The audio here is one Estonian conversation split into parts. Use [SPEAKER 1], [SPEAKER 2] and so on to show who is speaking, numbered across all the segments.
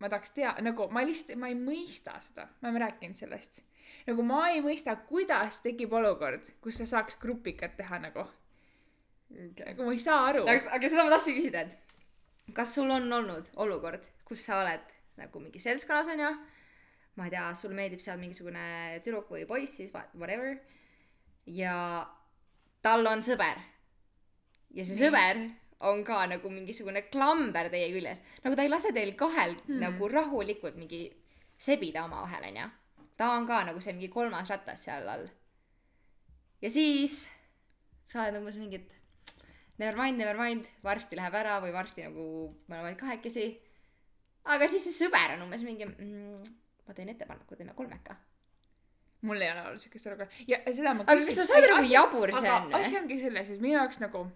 [SPEAKER 1] ma tahaks tea, nagu ma lihtsalt, ma ei mõista seda, me oleme rääkinud sellest. nagu ma ei mõista, kuidas tekib olukord, kus sa saaks grupikat teha nagu. nagu ma ei saa aru.
[SPEAKER 2] aga seda ma tahtsin küsida , et kas sul on olnud olukord , kus sa oled nagu mingi seltskonnas onju , ma ei tea , sulle meeldib seal mingisugune tüdruk või poiss siis va- whatever ja tal on sõber . ja see
[SPEAKER 1] Nii.
[SPEAKER 2] sõber on ka nagu mingisugune klamber teie küljes , nagu ta ei lase teil kahel hmm. nagu rahulikult mingi sebida omavahel onju . ta on ka nagu see mingi kolmas ratas seal all . ja siis sa oled umbes mingit never mind , never mind , varsti läheb ära või varsti nagu me oleme vaid kahekesi . aga siis see sõber on umbes mingi mm, , ma teen ettepaneku , teeme kolmeka .
[SPEAKER 1] mul ei ole olnud siukest olukorda ja seda ma
[SPEAKER 2] Aga kas sa saad aru, kui jabur see on? eh?
[SPEAKER 1] aga asi ongi selles , et minu jaoks nagu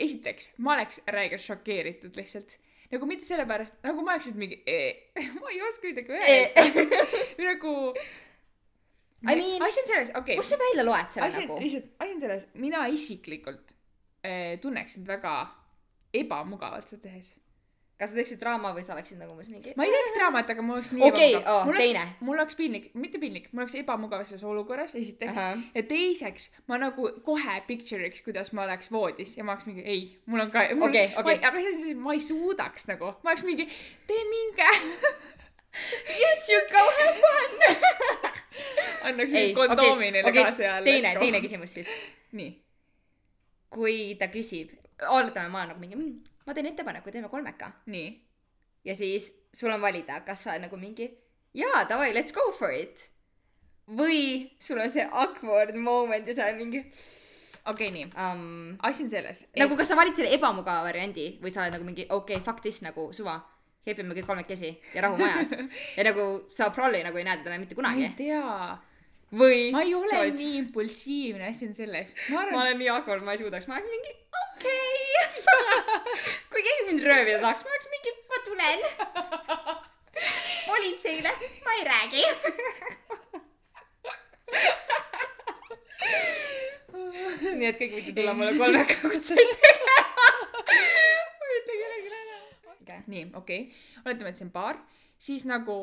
[SPEAKER 1] esiteks ma oleks räigelt šokeeritud lihtsalt nagu mitte sellepärast , nagu ma oleks lihtsalt mingi eh, , ma ei oska midagi öelda või nagu
[SPEAKER 2] Eh. I mean-
[SPEAKER 1] asi on selles , okei
[SPEAKER 2] kust sa välja loed selle
[SPEAKER 1] asi on
[SPEAKER 2] nagu ?
[SPEAKER 1] lihtsalt , asi on selles , mina isiklikult eh, tunneks end väga ebamugavalt seda tehes
[SPEAKER 2] kas sa teeksid draama või sa oleksid nagu umbes mingi ?
[SPEAKER 1] ma ei teeks draamat , aga mul oleks nii
[SPEAKER 2] Okei,
[SPEAKER 1] ebamugav.
[SPEAKER 2] aa,
[SPEAKER 1] mul oleks-
[SPEAKER 2] teine.
[SPEAKER 1] mul oleks piinlik , mitte piinlik , mul oleks ebamugav selles olukorras , esiteks
[SPEAKER 2] Ahah. .
[SPEAKER 1] ja teiseks , ma nagu kohe picture'iks , kuidas ma oleks voodis ja ma oleks mingi ei , mul on ka , mul
[SPEAKER 2] Okei,
[SPEAKER 1] ma ei ,
[SPEAKER 2] okei.
[SPEAKER 1] aga selles mõttes , et ma ei suudaks nagu , ma oleks mingi , tee minge
[SPEAKER 2] Yes you go have fun .
[SPEAKER 1] annaks mingi kondoomi neile ka seal .
[SPEAKER 2] teine , teine . küsimus siis .
[SPEAKER 1] nii ,
[SPEAKER 2] kui ta küsib , oletame , ma olen nagu mingi mm, , ma teen ettepaneku , teeme kolmeka .
[SPEAKER 1] nii ,
[SPEAKER 2] ja siis sul on valida , kas sa nagu mingi jaa , davai , let's go for it . või sul on see awkward moment ja sa oled mingi
[SPEAKER 1] okei , nii ,
[SPEAKER 2] um, .
[SPEAKER 1] asi on selles .
[SPEAKER 2] nagu kas sa valid selle ebamugava variandi või sa oled nagu mingi okei okay, , fuck this nagu suva , kepime kõik kolmekesi ja rahu majas ja nagu sa prolli nagu ei näe teda enam mitte
[SPEAKER 1] ma ei
[SPEAKER 2] kunagi
[SPEAKER 1] tea ,
[SPEAKER 2] või .
[SPEAKER 1] ma ei ole olid... nii impulsiivne , asi on selles . ma
[SPEAKER 2] ma
[SPEAKER 1] arvan ,
[SPEAKER 2] olen nii awkward , ma ei suudaks , ma oleks mingi okei okay. . kui keegi mind röövida tahaks , ma oleks mingi , ma tulen politseile , ma ei räägi . nii et kõik võite tulla mulle kolme kutseid
[SPEAKER 1] ma ei ütle kellelegi ära .
[SPEAKER 2] tegema .
[SPEAKER 1] nii , okei okay. , oletame , et see on paar , siis nagu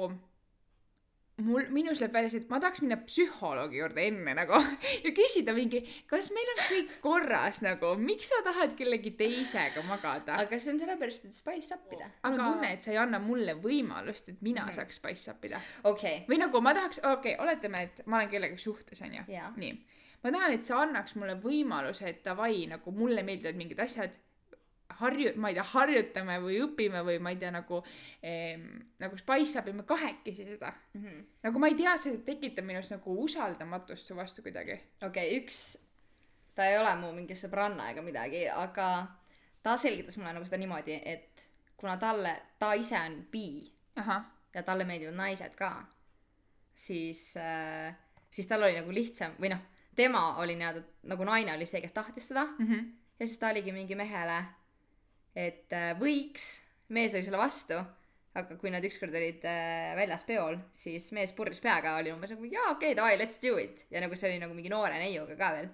[SPEAKER 1] mul , minus läheb välja see , et ma tahaks minna psühholoogi juurde enne nagu ja küsida mingi , kas meil on kõik korras nagu , miks sa tahad kellegi teisega magada ?
[SPEAKER 2] aga see on sellepärast , et Spice appida .
[SPEAKER 1] aga mul on tunne , et sa ei anna mulle võimalust , et mina mm. saaks spice appida .
[SPEAKER 2] okei
[SPEAKER 1] või nagu ma tahaks , okei okay, , oletame , et ma olen kellegagi suhtes , onju
[SPEAKER 2] Jaa. .
[SPEAKER 1] nii . ma tahan , et sa annaks mulle võimaluse , et davai , nagu mulle meeldivad mingid asjad , harju- , ma ei tea , harjutame või õpime või ma ei tea , nagu ehm, , nagu Spice abime kahekesi seda .
[SPEAKER 2] Mhm.
[SPEAKER 1] nagu ma ei tea , see tekitab minus nagu usaldamatust su vastu kuidagi .
[SPEAKER 2] okei , üks , ta ei ole mu mingi sõbranna ega midagi , aga ta selgitas mulle nagu seda niimoodi , et kuna talle , ta ise on bi
[SPEAKER 1] ahah ,
[SPEAKER 2] ja talle meeldivad naised ka , siis äh, , siis tal oli nagu lihtsam või noh , tema oli nii-öelda nagu naine oli see , kes tahtis seda mm
[SPEAKER 1] Mhm.
[SPEAKER 2] ja siis ta oligi mingi mehele , et äh, võiks , mees oli selle vastu , aga kui nad ükskord olid äh, väljas peol , siis mees purjus peaga , oli umbes nagu jaa , okei okay, , davai , let's do it ja nagu see oli nagu mingi noore neiuga ka veel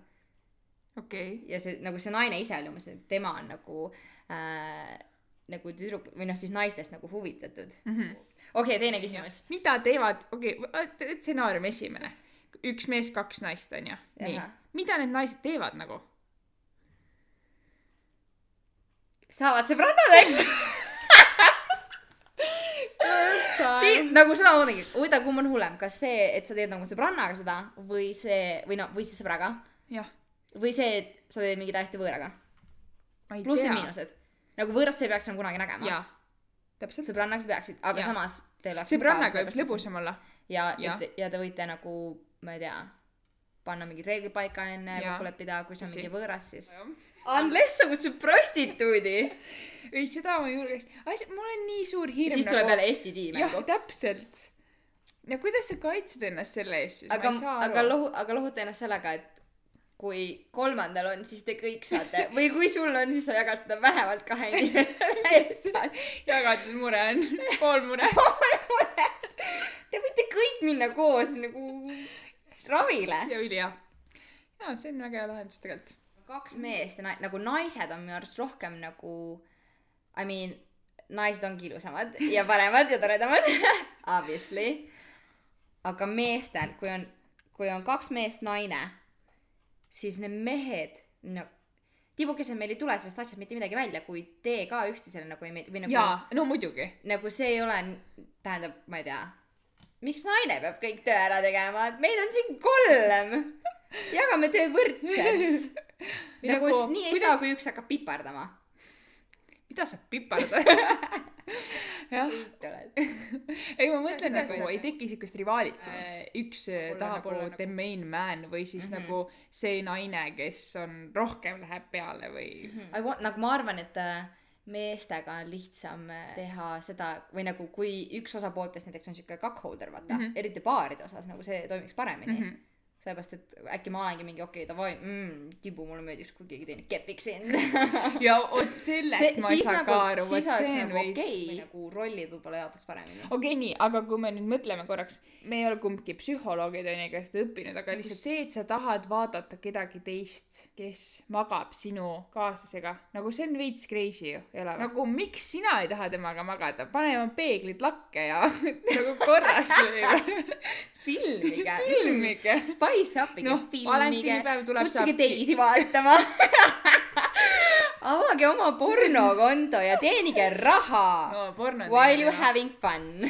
[SPEAKER 1] okei okay. .
[SPEAKER 2] ja see nagu see naine ise oli umbes , et tema on nagu äh, nagu tüdruk või noh , siis naistest nagu huvitatud mm -hmm. okei okay, , teine küsimus
[SPEAKER 1] mida teevad , okei okay, , stsenaarium esimene . üks mees , kaks naist , onju . nii
[SPEAKER 2] Ahah. .
[SPEAKER 1] mida need naised teevad nagu ?
[SPEAKER 2] saavad sõbrannadeks siin nagu seda ma mõtlengi , huvitav , kumb on hullem , kas see , et sa teed nagu sõbrannaga seda või see või noh , või siis sõbraga
[SPEAKER 1] jah ,
[SPEAKER 2] või see , et sa teed mingi täiesti võõraga ,
[SPEAKER 1] ma ei
[SPEAKER 2] plussid ja
[SPEAKER 1] tea .
[SPEAKER 2] miinused . nagu võõrast sa ei peaks enam kunagi nägema ,
[SPEAKER 1] jaa , täpselt .
[SPEAKER 2] sõbrannaks peaksid , aga
[SPEAKER 1] Jaa.
[SPEAKER 2] ja. samas teil oleks
[SPEAKER 1] sõbrannaga võib lõbusam olla .
[SPEAKER 2] ja , ja
[SPEAKER 1] Jah.
[SPEAKER 2] te, ja te võite nagu , ma ei tea , panna mingid reeglid paika enne ,
[SPEAKER 1] Jah.
[SPEAKER 2] kokku leppida , kui see on
[SPEAKER 1] Tõsi.
[SPEAKER 2] mingi võõras , siis
[SPEAKER 1] Jah. .
[SPEAKER 2] Unless sa kutsud prostituudi .
[SPEAKER 1] ei , seda ma ei julgeks . asi , mul on nii suur hirm .
[SPEAKER 2] siis tuleb jälle Eesti tiim
[SPEAKER 1] jah
[SPEAKER 2] nagu ,.
[SPEAKER 1] täpselt . no kuidas sa kaitsed ennast selle eest siis ?
[SPEAKER 2] aga
[SPEAKER 1] ma ei , saa
[SPEAKER 2] aga
[SPEAKER 1] aru .
[SPEAKER 2] lohu- , aga lohuta ennast sellega , et kui kolmandal on , siis te kõik saate või kui sul on , siis sa jagad seda vähemalt kahe inimesega .
[SPEAKER 1] jagatud mure on , pool mure .
[SPEAKER 2] Te võite kõik minna koos nagu ravile .
[SPEAKER 1] ja ülihea . jaa , see on väga hea lahendus tegelikult .
[SPEAKER 2] kaks meest ja na- , nagu naised on minu arust rohkem nagu , I mean , naised ongi ilusamad ja paremad ja toredamad , obviously . aga meestel , kui on , kui on kaks meest , naine , siis need mehed , no tibukesed meil ei tule sellest asjast mitte midagi välja , kui te ka üksteisele nagu ei meeldi või nagu
[SPEAKER 1] jaa , no muidugi .
[SPEAKER 2] nagu see ei ole , tähendab , ma ei tea , miks naine peab kõik töö ära tegema , et meid on siin kolm , jagame töö võrdselt .
[SPEAKER 1] Või
[SPEAKER 2] nagu
[SPEAKER 1] nagu,
[SPEAKER 2] nii ei
[SPEAKER 1] kuidas-
[SPEAKER 2] kuidas... saa , kui üks hakkab pipardama .
[SPEAKER 1] mida sa pipardad ? jah , ei ma mõtlen
[SPEAKER 2] Kuidas
[SPEAKER 1] nagu
[SPEAKER 2] nagu-
[SPEAKER 1] ei teki siukest rivaalitsemist
[SPEAKER 2] Äh, .
[SPEAKER 1] üks äh,
[SPEAKER 2] olla
[SPEAKER 1] tahab
[SPEAKER 2] nagu-
[SPEAKER 1] olla
[SPEAKER 2] nagu-
[SPEAKER 1] the main man või siis
[SPEAKER 2] Mhm.
[SPEAKER 1] nagu see naine , kes on rohkem läheb peale või
[SPEAKER 2] I want , nagu ma arvan , et äh, meestega on lihtsam äh, teha seda või nagu , kui üks osapooltest näiteks on sihuke cuckolder , vaata mm ,
[SPEAKER 1] Mhm.
[SPEAKER 2] -hmm. eriti baaride osas nagu see toimiks paremini mm .
[SPEAKER 1] Mhm.
[SPEAKER 2] -hmm sellepärast , et äkki ma olengi mingi okei okay, , davai mm, , tibu , mulle meeldiks , kui keegi teine kepiks sind .
[SPEAKER 1] ja vot sellest see, ma ei saa nagu, ka aru , vot
[SPEAKER 2] siis oleks
[SPEAKER 1] see on
[SPEAKER 2] nagu
[SPEAKER 1] veits
[SPEAKER 2] okei Oh, okay.
[SPEAKER 1] okei ,
[SPEAKER 2] nagu rollid võib-olla jaotuks paremini .
[SPEAKER 1] okay, , nii , aga kui me nüüd mõtleme korraks , me ei ole kumbki psühholoogid onju , ega seda õppinud , aga lihtsalt see , et sa tahad vaadata kedagi teist , kes magab sinu kaaslasega , nagu see on veits crazy ju , ei ole või ? nagu miks sina ei taha temaga magada , paneme peeglid lakke ja nagu korras või
[SPEAKER 2] filmige
[SPEAKER 1] filmige .
[SPEAKER 2] mm, Spice upige
[SPEAKER 1] Noh,
[SPEAKER 2] no, , filmige
[SPEAKER 1] Valentinipäev , tuleb,
[SPEAKER 2] kutsuge
[SPEAKER 1] saab-
[SPEAKER 2] teisi vaatama . avage oma pornokonto ja teenige raha no,
[SPEAKER 1] no porno .
[SPEAKER 2] while you . having fun .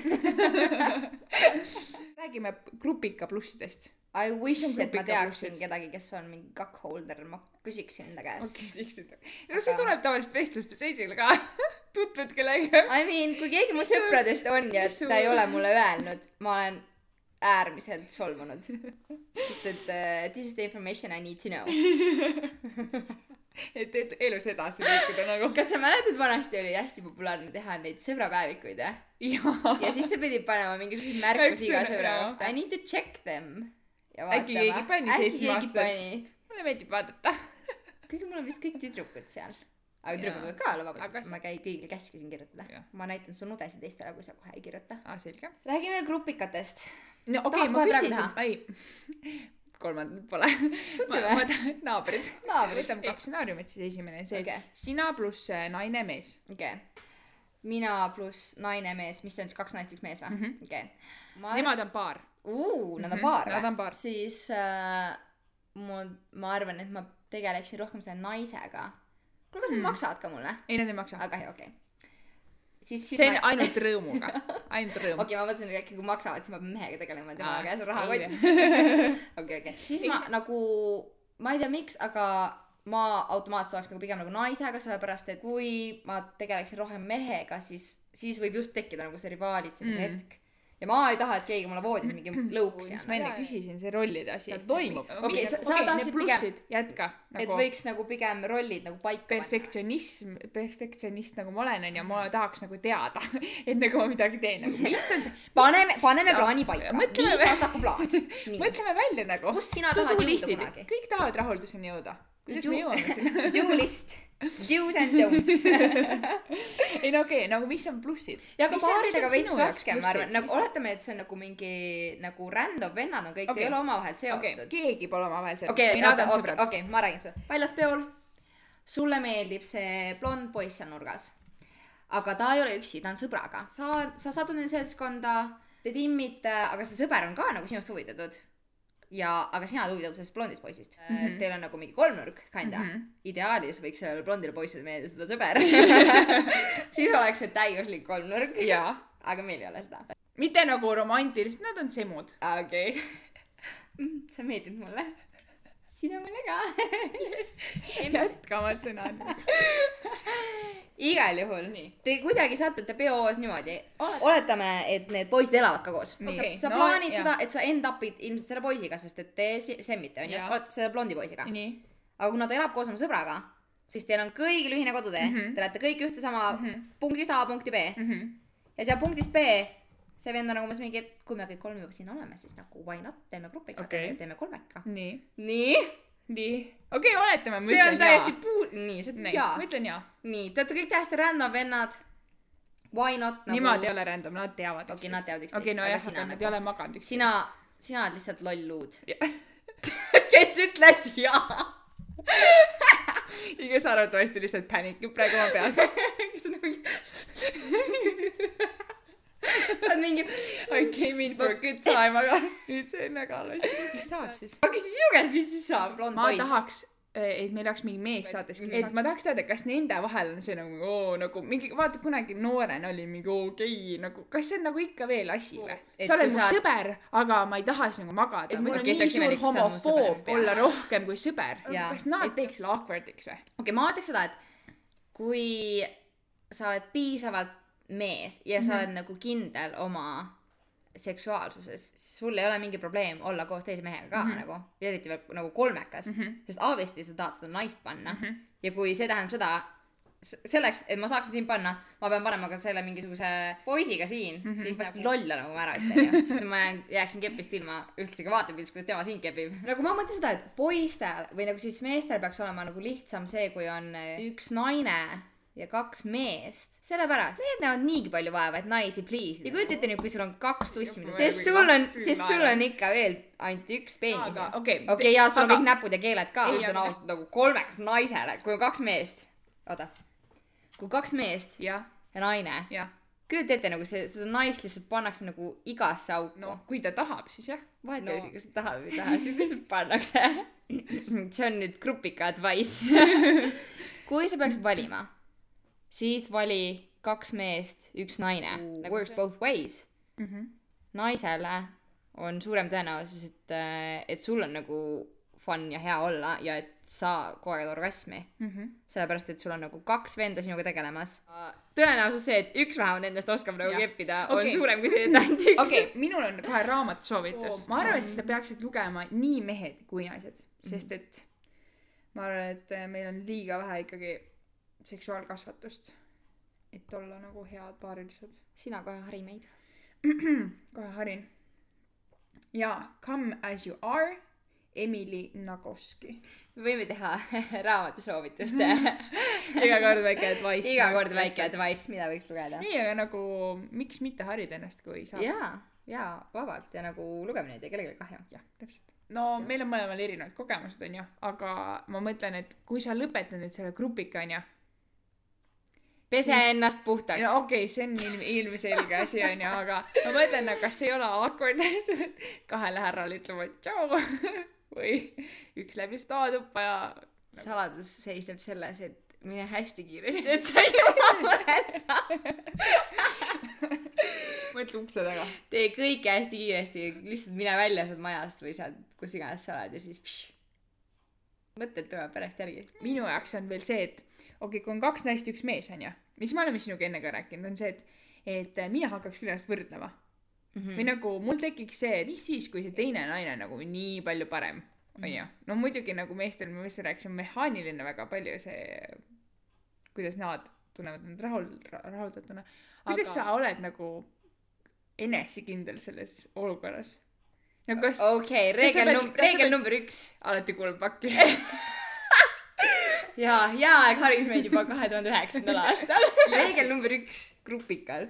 [SPEAKER 1] räägime grupika plussidest .
[SPEAKER 2] I wish ,
[SPEAKER 1] Mis on
[SPEAKER 2] et
[SPEAKER 1] grupika
[SPEAKER 2] ma teaksin
[SPEAKER 1] plussid?
[SPEAKER 2] kedagi , kes on mingi cuckolder , ma küsiksin enda käest okay. .
[SPEAKER 1] okei , siis . no see tuleb tavaliselt vestlustes esile ka . tutvud kellegagi .
[SPEAKER 2] I mean , kui keegi mu
[SPEAKER 1] Mis sul-
[SPEAKER 2] sõpradest on ja
[SPEAKER 1] mis sul-
[SPEAKER 2] ta ei ole mulle öelnud , ma olen äärmiselt solvunud . sest et uh, this is the information I need to know .
[SPEAKER 1] et , et elus edasi liikuda nagu .
[SPEAKER 2] kas sa mäletad , vanasti oli hästi populaarne teha neid sõbrapäevikuid , jah ? ja
[SPEAKER 1] jaa .
[SPEAKER 2] siis sa pidid panema mingisuguseid märkusi iga
[SPEAKER 1] Eks ole,
[SPEAKER 2] sõbra
[SPEAKER 1] jaa.
[SPEAKER 2] kohta . I need to check them .
[SPEAKER 1] Äkki keegi pani seitsmeaastaselt. . mulle meeldib vaadata .
[SPEAKER 2] kuigi mul on vist kõik tüdrukud seal . aga
[SPEAKER 1] Jaa.
[SPEAKER 2] tüdrukud võivad ka olla
[SPEAKER 1] Aga
[SPEAKER 2] vabalt ,
[SPEAKER 1] sa-
[SPEAKER 2] ma käin kõigile käskisin kirjutada
[SPEAKER 1] Jah. .
[SPEAKER 2] ma näitan su nudesid teistele , kui sa kohe ei kirjuta .
[SPEAKER 1] aa , Ah, selge .
[SPEAKER 2] räägi veel grupikatest .
[SPEAKER 1] no okei okay, ,
[SPEAKER 2] Tahad
[SPEAKER 1] ma
[SPEAKER 2] kohe praegu
[SPEAKER 1] küsisin , ei , kolmandat pole .
[SPEAKER 2] Kutsume.
[SPEAKER 1] ma tahan , naabrid .
[SPEAKER 2] naabrid .
[SPEAKER 1] võtame kaks stsenaariumit , siis esimene on see okay.
[SPEAKER 2] Okei. ,
[SPEAKER 1] et sina pluss äh, naine , mees .
[SPEAKER 2] okei okay. mina pluss naine , mees , mis see on siis kaks naist , üks mees või mm
[SPEAKER 1] Mhm.
[SPEAKER 2] -hmm. ? okei okay. ma
[SPEAKER 1] Nemad on paar .
[SPEAKER 2] uu , nad on
[SPEAKER 1] Mhm,
[SPEAKER 2] paar
[SPEAKER 1] nad
[SPEAKER 2] või
[SPEAKER 1] on paar. ?
[SPEAKER 2] siis äh, mu , ma arvan , et ma tegeleksin rohkem selle naisega . kuule , kas nad
[SPEAKER 1] Mm.
[SPEAKER 2] mm. maksavad ka mulle ?
[SPEAKER 1] ei , nad ei maksa .
[SPEAKER 2] aga ei , okei okay. . siis , siis
[SPEAKER 1] see on
[SPEAKER 2] ma ,
[SPEAKER 1] ainult rõõmuga , ainult
[SPEAKER 2] okei
[SPEAKER 1] rõõm Ah, okay. .
[SPEAKER 2] okay, , ma mõtlesin , et äkki kui maksavad , siis ma pean mehega tegelema , tema
[SPEAKER 1] Aa,
[SPEAKER 2] käes on
[SPEAKER 1] ei
[SPEAKER 2] rahakott . okei , okei , siis ma nagu , ma ei tea , miks , aga ma automaatselt oleks nagu pigem nagu naisega , sellepärast et kui ma tegeleksin rohkem mehega , siis , siis võib just tekkida nagu see rivaalitsemise
[SPEAKER 1] Mm.
[SPEAKER 2] mm. hetk . ja ma ei taha , et keegi mulle voodis mingi lõuks
[SPEAKER 1] mis Mhm. ma enne
[SPEAKER 2] annaks.
[SPEAKER 1] küsisin , see rollide asi
[SPEAKER 2] Seal .
[SPEAKER 1] toimub .
[SPEAKER 2] Okei, sa- sa tahtsid
[SPEAKER 1] plussid , jätka .
[SPEAKER 2] et võiks nagu pigem rollid nagu paika
[SPEAKER 1] perfektsionism , perfektsionist nagu ma olen , onju , ma tahaks nagu teada , enne kui ma midagi teen , nagu mis on see ,
[SPEAKER 2] panna . paneme , paneme
[SPEAKER 1] Jaa.
[SPEAKER 2] plaani paika .
[SPEAKER 1] Mõtleme-
[SPEAKER 2] viis aastat on plaan . nii ,
[SPEAKER 1] mõtleme välja nagu .
[SPEAKER 2] kust sina tahad jõuda kunagi ?
[SPEAKER 1] kõik tahavad rahulduseni jõuda . kuidas
[SPEAKER 2] Do-
[SPEAKER 1] me jõuame sinna ?
[SPEAKER 2] To-do list , do's and don'ts .
[SPEAKER 1] ei no okei okay, , nagu mis on plussid ?
[SPEAKER 2] ja ka paaridega veits raskem , ma arvan , nagu . oletame , et see on nagu mingi nagu random vennad on kõik okay. ,
[SPEAKER 1] Okei.
[SPEAKER 2] ei ole omavahel
[SPEAKER 1] okei
[SPEAKER 2] seotud , okay. .
[SPEAKER 1] keegi pole omavahel seotud .
[SPEAKER 2] okei ,
[SPEAKER 1] mina tahan
[SPEAKER 2] okei ,
[SPEAKER 1] sõbrad .
[SPEAKER 2] okei , ma räägin sulle . väljaspeol sulle meeldib see blond poiss seal nurgas . aga ta ei ole üksi , ta on sõbraga . sa , sa satud nende seltskonda , te timmite , aga see sõber on ka nagu sinust huvitatud . ja , aga sina oled huvitatud sellest blondist poisist mm .
[SPEAKER 1] Mhm.
[SPEAKER 2] -hmm. Teil on nagu mingi kolmnurk , kinda mm .
[SPEAKER 1] Mhm.
[SPEAKER 2] -hmm. ideaalis võiks sellele blondile poissile meeldida seda sõber . siis oleks see täiuslik kolmnurk .
[SPEAKER 1] jaa ,
[SPEAKER 2] aga meil ei ole seda .
[SPEAKER 1] mitte nagu romantilised , nad on semud .
[SPEAKER 2] okei okay. .
[SPEAKER 1] Mhm.
[SPEAKER 2] sa meeldid mulle . sina mulle ka .
[SPEAKER 1] jätkavad sõna .
[SPEAKER 2] igal juhul . Te kuidagi satute peoos niimoodi . oletame , et need poisid elavad ka koos . sa,
[SPEAKER 1] Okei,
[SPEAKER 2] sa
[SPEAKER 1] no,
[SPEAKER 2] no, plaanid
[SPEAKER 1] jah.
[SPEAKER 2] jah. seda , et sa end up'id ilmselt selle poisiga , sest et te si- semmite , onju .
[SPEAKER 1] Jah.
[SPEAKER 2] olete selle blondi poisiga .
[SPEAKER 1] nii .
[SPEAKER 2] aga kuna ta elab koos oma sõbraga , siis teil on kõigil ühine kodutee mm .
[SPEAKER 1] Mhm.
[SPEAKER 2] -hmm. Te lähete kõik ühte sama mm -hmm. punktist A punkti B mm .
[SPEAKER 1] okei ,
[SPEAKER 2] -hmm. ja seal punktis B see vend on nagu umbes mingi , et kui me kõik kolm juba siin oleme , siis nagu why not , teeme grupiga
[SPEAKER 1] Okei.
[SPEAKER 2] okay. , teeme kolmeka .
[SPEAKER 1] nii .
[SPEAKER 2] nii
[SPEAKER 1] nii , okei , oletame .
[SPEAKER 2] see on täiesti puu- , nii , see on
[SPEAKER 1] jaa .
[SPEAKER 2] jaa
[SPEAKER 1] ma . ütlen jaa .
[SPEAKER 2] nii , te olete kõik täiesti ränna vennad . why not nagu
[SPEAKER 1] nemad ei ole random , nad teavad
[SPEAKER 2] Okei, nad teavad üksteist,
[SPEAKER 1] okei , no
[SPEAKER 2] aga
[SPEAKER 1] jah ,
[SPEAKER 2] sina
[SPEAKER 1] aga nad
[SPEAKER 2] nagu-
[SPEAKER 1] ei ole maganud üksteist .
[SPEAKER 2] sina , sina oled lihtsalt loll luud
[SPEAKER 1] Jah. .
[SPEAKER 2] kes ütles jaa ?
[SPEAKER 1] kes arvatavasti lihtsalt pänikib praegu oma peas .
[SPEAKER 2] kes on nagu sa oled mingi
[SPEAKER 1] I came in for a good time , aga nüüd see on väga halvasti . mis saab siis ?
[SPEAKER 2] ma küsin sinu käest , mis siis saab , blond
[SPEAKER 1] ma
[SPEAKER 2] poiss ?
[SPEAKER 1] tahaks , et meil oleks mingi mees saates ,
[SPEAKER 2] Mhm.
[SPEAKER 1] et ma tahaks teada , kas nende vahel on see nagu oo nagu mingi , vaata kunagi noorena oli mingi oo gei nagu , kas see on nagu ikka veel asi või ?
[SPEAKER 2] Et
[SPEAKER 1] sa oled
[SPEAKER 2] kui
[SPEAKER 1] mu
[SPEAKER 2] sa-
[SPEAKER 1] sõber , aga ma ei taha sinuga magada
[SPEAKER 2] Et .
[SPEAKER 1] mul on
[SPEAKER 2] mul- okei, see
[SPEAKER 1] nii
[SPEAKER 2] oleks
[SPEAKER 1] suur
[SPEAKER 2] imelik, kui sa oled mu sõber,
[SPEAKER 1] homofoob
[SPEAKER 2] jah.
[SPEAKER 1] olla rohkem kui sõber .
[SPEAKER 2] Jaa.
[SPEAKER 1] kas nad teeks selle awkward'iks või ?
[SPEAKER 2] okei okay, , ma ütleks seda , et kui sa oled piisavalt mees ja sa oled nagu kindel oma seksuaalsuses , siis sul ei ole mingi probleem olla koos teise mehega ka mm -hmm. nagu , eriti veel nagu kolmekas mm , -hmm. sest obviously sa tahad seda naist panna mm . -hmm. ja kui see tähendab seda , selleks , et ma saaksin sind panna , ma pean panema ka selle mingisuguse poisiga siin mm , -hmm. siis nagu loll olen , kui ma ära ütlen ju , sest ma jään , jääksin kepist ilma ühtegi vaatepildist , kuidas tema sind kepib . nagu ma mõtlen seda , et poistel või nagu siis meestel peaks olema nagu lihtsam see , kui on eh, üks naine ja kaks meest , sellepärast need näevad niigi palju vaeva , et naisi pliis ja kujuta ette nüüd , kui sul on kaks tussi ,
[SPEAKER 1] Juba
[SPEAKER 2] sest
[SPEAKER 1] või
[SPEAKER 2] sul on ,
[SPEAKER 1] kaks
[SPEAKER 2] sest sul on ikka veel ainult üks peenis
[SPEAKER 1] aga . okei
[SPEAKER 2] okei okay, , jaa , sul on kõik näpud ja keeled ka ,
[SPEAKER 1] Ei,
[SPEAKER 2] ma ütlen
[SPEAKER 1] aga-
[SPEAKER 2] ausalt nagu kolmeks naisele , kui on kaks meest , oota , kui kaks meest
[SPEAKER 1] jah ,
[SPEAKER 2] ja naine ,
[SPEAKER 1] jah ,
[SPEAKER 2] kujuta ette nagu see , seda naist lihtsalt pannakse nagu igasse auku
[SPEAKER 1] no
[SPEAKER 2] no. .
[SPEAKER 1] kui ta tahab , siis jah .
[SPEAKER 2] vahet ei
[SPEAKER 1] no.
[SPEAKER 2] ole isegi , kas sa tahad või ei taha , sind lihtsalt pannakse . see on nüüd grupika advice . kui sa peaksid valima , siis vali kaks meest , üks naine
[SPEAKER 1] Ooh,
[SPEAKER 2] nagu works
[SPEAKER 1] see- Mhm.
[SPEAKER 2] both ways . naisele on suurem tõenäosus , et , et sul on nagu fun ja hea olla ja et sa koged orgasmi . sellepärast , et sul on nagu kaks venda sinuga tegelemas . tõenäosus see , et üks vähemalt nendest oskab nagu
[SPEAKER 1] Jah.
[SPEAKER 2] keppida ,
[SPEAKER 1] Okei.
[SPEAKER 2] on suurem kui see , et ainult üks Mm.
[SPEAKER 1] okei okay, , minul on kohe raamatusoovitus
[SPEAKER 2] Oo,
[SPEAKER 1] oh, . ma arvan , et seda peaksid lugema nii mehed kui naised ,
[SPEAKER 2] Mm.
[SPEAKER 1] sest et ma arvan , et eh, meil on liiga vähe ikkagi seksuaalkasvatust , et olla nagu head paarilised .
[SPEAKER 2] sina kohe hari meid .
[SPEAKER 1] kohe harin . jaa , Come as you are , Emily Nagoski .
[SPEAKER 2] me võime teha raamatusoovituste
[SPEAKER 1] iga kord väike advice .
[SPEAKER 2] iga kord väike . advice , mida võiks lugeda .
[SPEAKER 1] nii , aga nagu miks mitte harida ennast , kui saab .
[SPEAKER 2] jaa , jaa , vabalt ja nagu lugemine ei tee kellelegi kahju .
[SPEAKER 1] jah , täpselt . no meil on mõlemal erinevad kogemused , onju , aga ma mõtlen , et kui sa lõpetad nüüd selle grupika , onju .
[SPEAKER 2] pese
[SPEAKER 1] Siis-
[SPEAKER 2] siis... ennast puhtaks
[SPEAKER 1] no okei okay, , see on ilm- , ilmselge asi , onju , aga ma mõtlen , et kas ei ole awkward , kahele härrale ütlema tšau või üks läbi staatuppa ja
[SPEAKER 2] saladus seisneb selles , et mine hästi kiiresti , et sa ei jõua mõelda .
[SPEAKER 1] mõtle ukse taga .
[SPEAKER 2] tee kõike hästi kiiresti , lihtsalt mine välja sealt majast või sealt , kus iganes sa oled ja siis pšš. mõtted tulevad pärast järgi .
[SPEAKER 1] minu jaoks on veel see , et okei okay, , kui on kaks naist , üks mees , onju , mis me oleme sinuga enne ka rääkinud , on see , et et mina hakkaks küll ennast võrdlema
[SPEAKER 2] Mhm. Mm.
[SPEAKER 1] või nagu mul tekiks see , mis siis , kui see teine naine on nagu nii palju parem ,
[SPEAKER 2] Mm.
[SPEAKER 1] onju . no muidugi nagu meestel , ma vist rääkisin , mehaaniline väga palju see , kuidas nad tunnevad end rahul , rahuldatuna . kuidas
[SPEAKER 2] Aga-
[SPEAKER 1] sa oled nagu enesekindel selles olukorras ? no kas oh.
[SPEAKER 2] okei ,
[SPEAKER 1] kas sa
[SPEAKER 2] reegel
[SPEAKER 1] pead-
[SPEAKER 2] num- ,
[SPEAKER 1] kas sa pead-
[SPEAKER 2] reegel number üks
[SPEAKER 1] alati kuuleb pakki ?
[SPEAKER 2] jaa , jaa , aeg haris meid juba kahe tuhande üheksandal aastal . reegel number üks grupikal .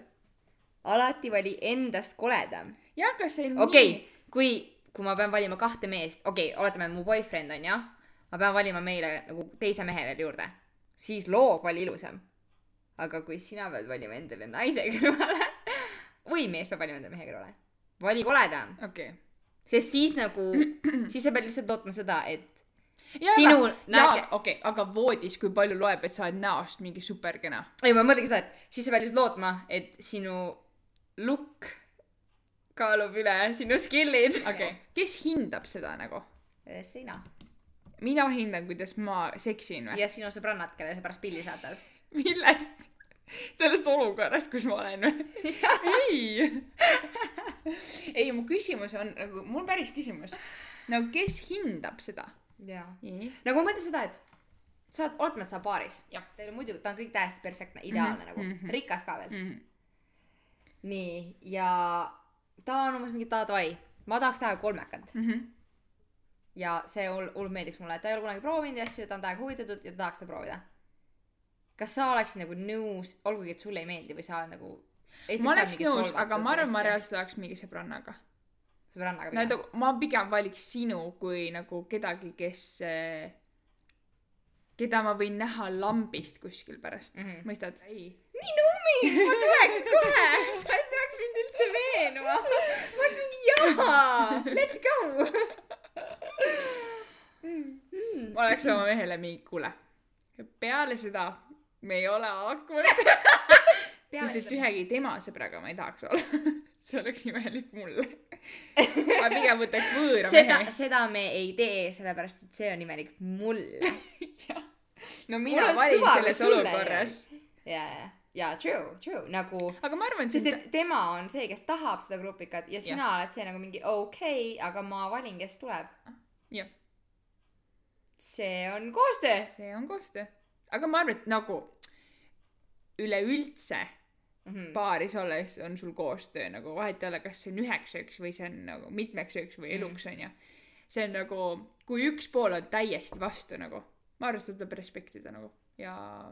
[SPEAKER 2] alati vali endast koledam .
[SPEAKER 1] jah , kas see on
[SPEAKER 2] okei okay, , kui , kui ma pean valima kahte meest , okei okay, , oletame , mu boyfriend on jah , ma pean valima meile nagu teise mehe veel juurde , siis loog vali ilusam . aga kui sina pead valima endale naise kõrvale või mees peab valima endale mehe kõrvale , vali koledam ,
[SPEAKER 1] nii ? okei okay. .
[SPEAKER 2] sest siis nagu , siis sa pead lihtsalt lootma seda , et Sinu
[SPEAKER 1] näge-
[SPEAKER 2] näge- .
[SPEAKER 1] okei okay, , aga voodis , kui palju loeb , et sa oled näost mingi superkena ?
[SPEAKER 2] ei , ma mõtlengi seda , et siis sa pead lihtsalt lootma , et sinu look kaalub üle sinu skill'id .
[SPEAKER 1] okei okay. , kes hindab seda nagu ?
[SPEAKER 2] sina
[SPEAKER 1] mina hindan , kuidas ma seksin või ?
[SPEAKER 2] ja sinu sõbrannad , kelle sa pärast pilli saadad .
[SPEAKER 1] millest ? sellest olukorrast , kus ma olen või ? ei . ei , mu küsimus on nagu , mul on päris küsimus . nagu , kes hindab seda ?
[SPEAKER 2] jaa . nagu ma mõtlen seda , et sa oled , oletame , et sa oled paaris .
[SPEAKER 1] Jah.
[SPEAKER 2] Teil on muidugi , ta on kõik täiesti perfektne , ideaalne mm -hmm.
[SPEAKER 1] mhm.
[SPEAKER 2] nagu , rikas ka veel .
[SPEAKER 1] okei ,
[SPEAKER 2] nii , ja ta on umbes mingi davai , ma tahaks teha kolmekat .
[SPEAKER 1] Mhm.
[SPEAKER 2] ja see hull , hull meeldiks mulle , et ta ei ole kunagi proovinud ja asju , ta on täiega huvitatud ja ta tahaks seda proovida . kas sa oleksid nagu nõus , olgugi et sulle ei meeldi või sa oled nagu
[SPEAKER 1] ma oleks nõus , aga ma arvan , ma reaalselt oleks mingi sõbrannaga .
[SPEAKER 2] sõbrannaga
[SPEAKER 1] no
[SPEAKER 2] pigem
[SPEAKER 1] et ma pigem valiks sinu kui nagu kedagi , kes , keda ma võin näha lambist kuskil pärast mm ,
[SPEAKER 2] Mhm.
[SPEAKER 1] -hmm. mõistad ? ei .
[SPEAKER 2] nii nummi , ma tuleks kohe , sa ei peaks mind üldse veenma . ma oleks mingi jaa , let's go . Hmm.
[SPEAKER 1] ma oleks oma mehele mingi , kuule , peale seda me ei ole awkward , sest et ühegi tema sõbraga ma ei tahaks olla . see oleks imelik mulle . ma pigem võtaks võõra
[SPEAKER 2] seda ,
[SPEAKER 1] mehe .
[SPEAKER 2] seda me ei tee , sellepärast et see on imelik mulle .
[SPEAKER 1] no
[SPEAKER 2] mul
[SPEAKER 1] mina
[SPEAKER 2] on
[SPEAKER 1] valin
[SPEAKER 2] suva, kui
[SPEAKER 1] selles
[SPEAKER 2] sulle
[SPEAKER 1] olukorras .
[SPEAKER 2] ja , ja , ja true , true nagu ,
[SPEAKER 1] aga ma arvan , et
[SPEAKER 2] sest
[SPEAKER 1] see ,
[SPEAKER 2] et tema on see , kes tahab seda grupikat ja sina oled see nagu mingi okei okay, , aga ma valin , kes tuleb .
[SPEAKER 1] jah ,
[SPEAKER 2] see on koostöö .
[SPEAKER 1] see on koostöö . aga ma arvan , et nagu üleüldse
[SPEAKER 2] Mhm.
[SPEAKER 1] paaris olles on sul koostöö nagu vahet ei ole , kas see on üheks ööks või see on nagu mitmeks ööks või
[SPEAKER 2] Mm.
[SPEAKER 1] eluks onju . see on nagu , kui üks pool on täiesti vastu nagu , ma arvan , seda tuleb respektida nagu ja
[SPEAKER 2] jaa .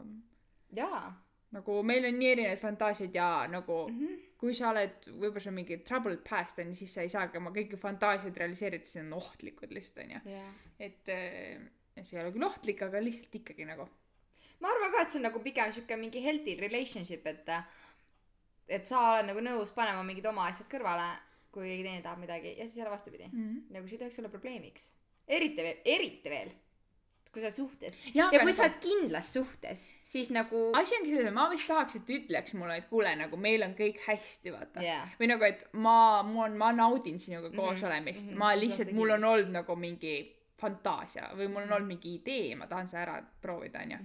[SPEAKER 2] Mhm.
[SPEAKER 1] nagu meil on nii erinevad fantaasiad ja nagu mm -hmm. kui sa oled , võib-olla sul on mingi troubled past onju , siis sa ei saagi oma kõiki fantaasiaid realiseerida , siis need on ohtlikud lihtsalt onju .
[SPEAKER 2] jaa
[SPEAKER 1] et eh, see ei ole küll ohtlik , aga lihtsalt ikkagi nagu
[SPEAKER 2] ma arvan ka , et see on nagu pigem sihuke mingi healthy relationship , et et sa oled nagu nõus panema mingid oma asjad kõrvale , kui keegi teine tahab midagi ja siis jälle vastupidi .
[SPEAKER 1] mm . -hmm.
[SPEAKER 2] nagu see ei tohiks olla probleemiks . eriti veel , eriti veel , kui sa oled suhtes .
[SPEAKER 1] ja,
[SPEAKER 2] ja nagu kui sa oled kindlas suhtes , siis nagu
[SPEAKER 1] asi ongi selles , et ma vist tahaks , et ütleks mulle , et kuule , nagu meil on kõik hästi , vaata yeah. .
[SPEAKER 2] jaa ,
[SPEAKER 1] või nagu , et ma , mul on , ma naudin sinuga
[SPEAKER 2] Mhm,
[SPEAKER 1] koos olemist mm ,
[SPEAKER 2] mhm,
[SPEAKER 1] -hmm. ma
[SPEAKER 2] sa
[SPEAKER 1] lihtsalt ,
[SPEAKER 2] saad
[SPEAKER 1] mul on
[SPEAKER 2] kindlasti. Mhm.
[SPEAKER 1] olnud nagu mingi fantaasia või mul on olnud mingi idee , ma tahan seda ära proovida , onju ,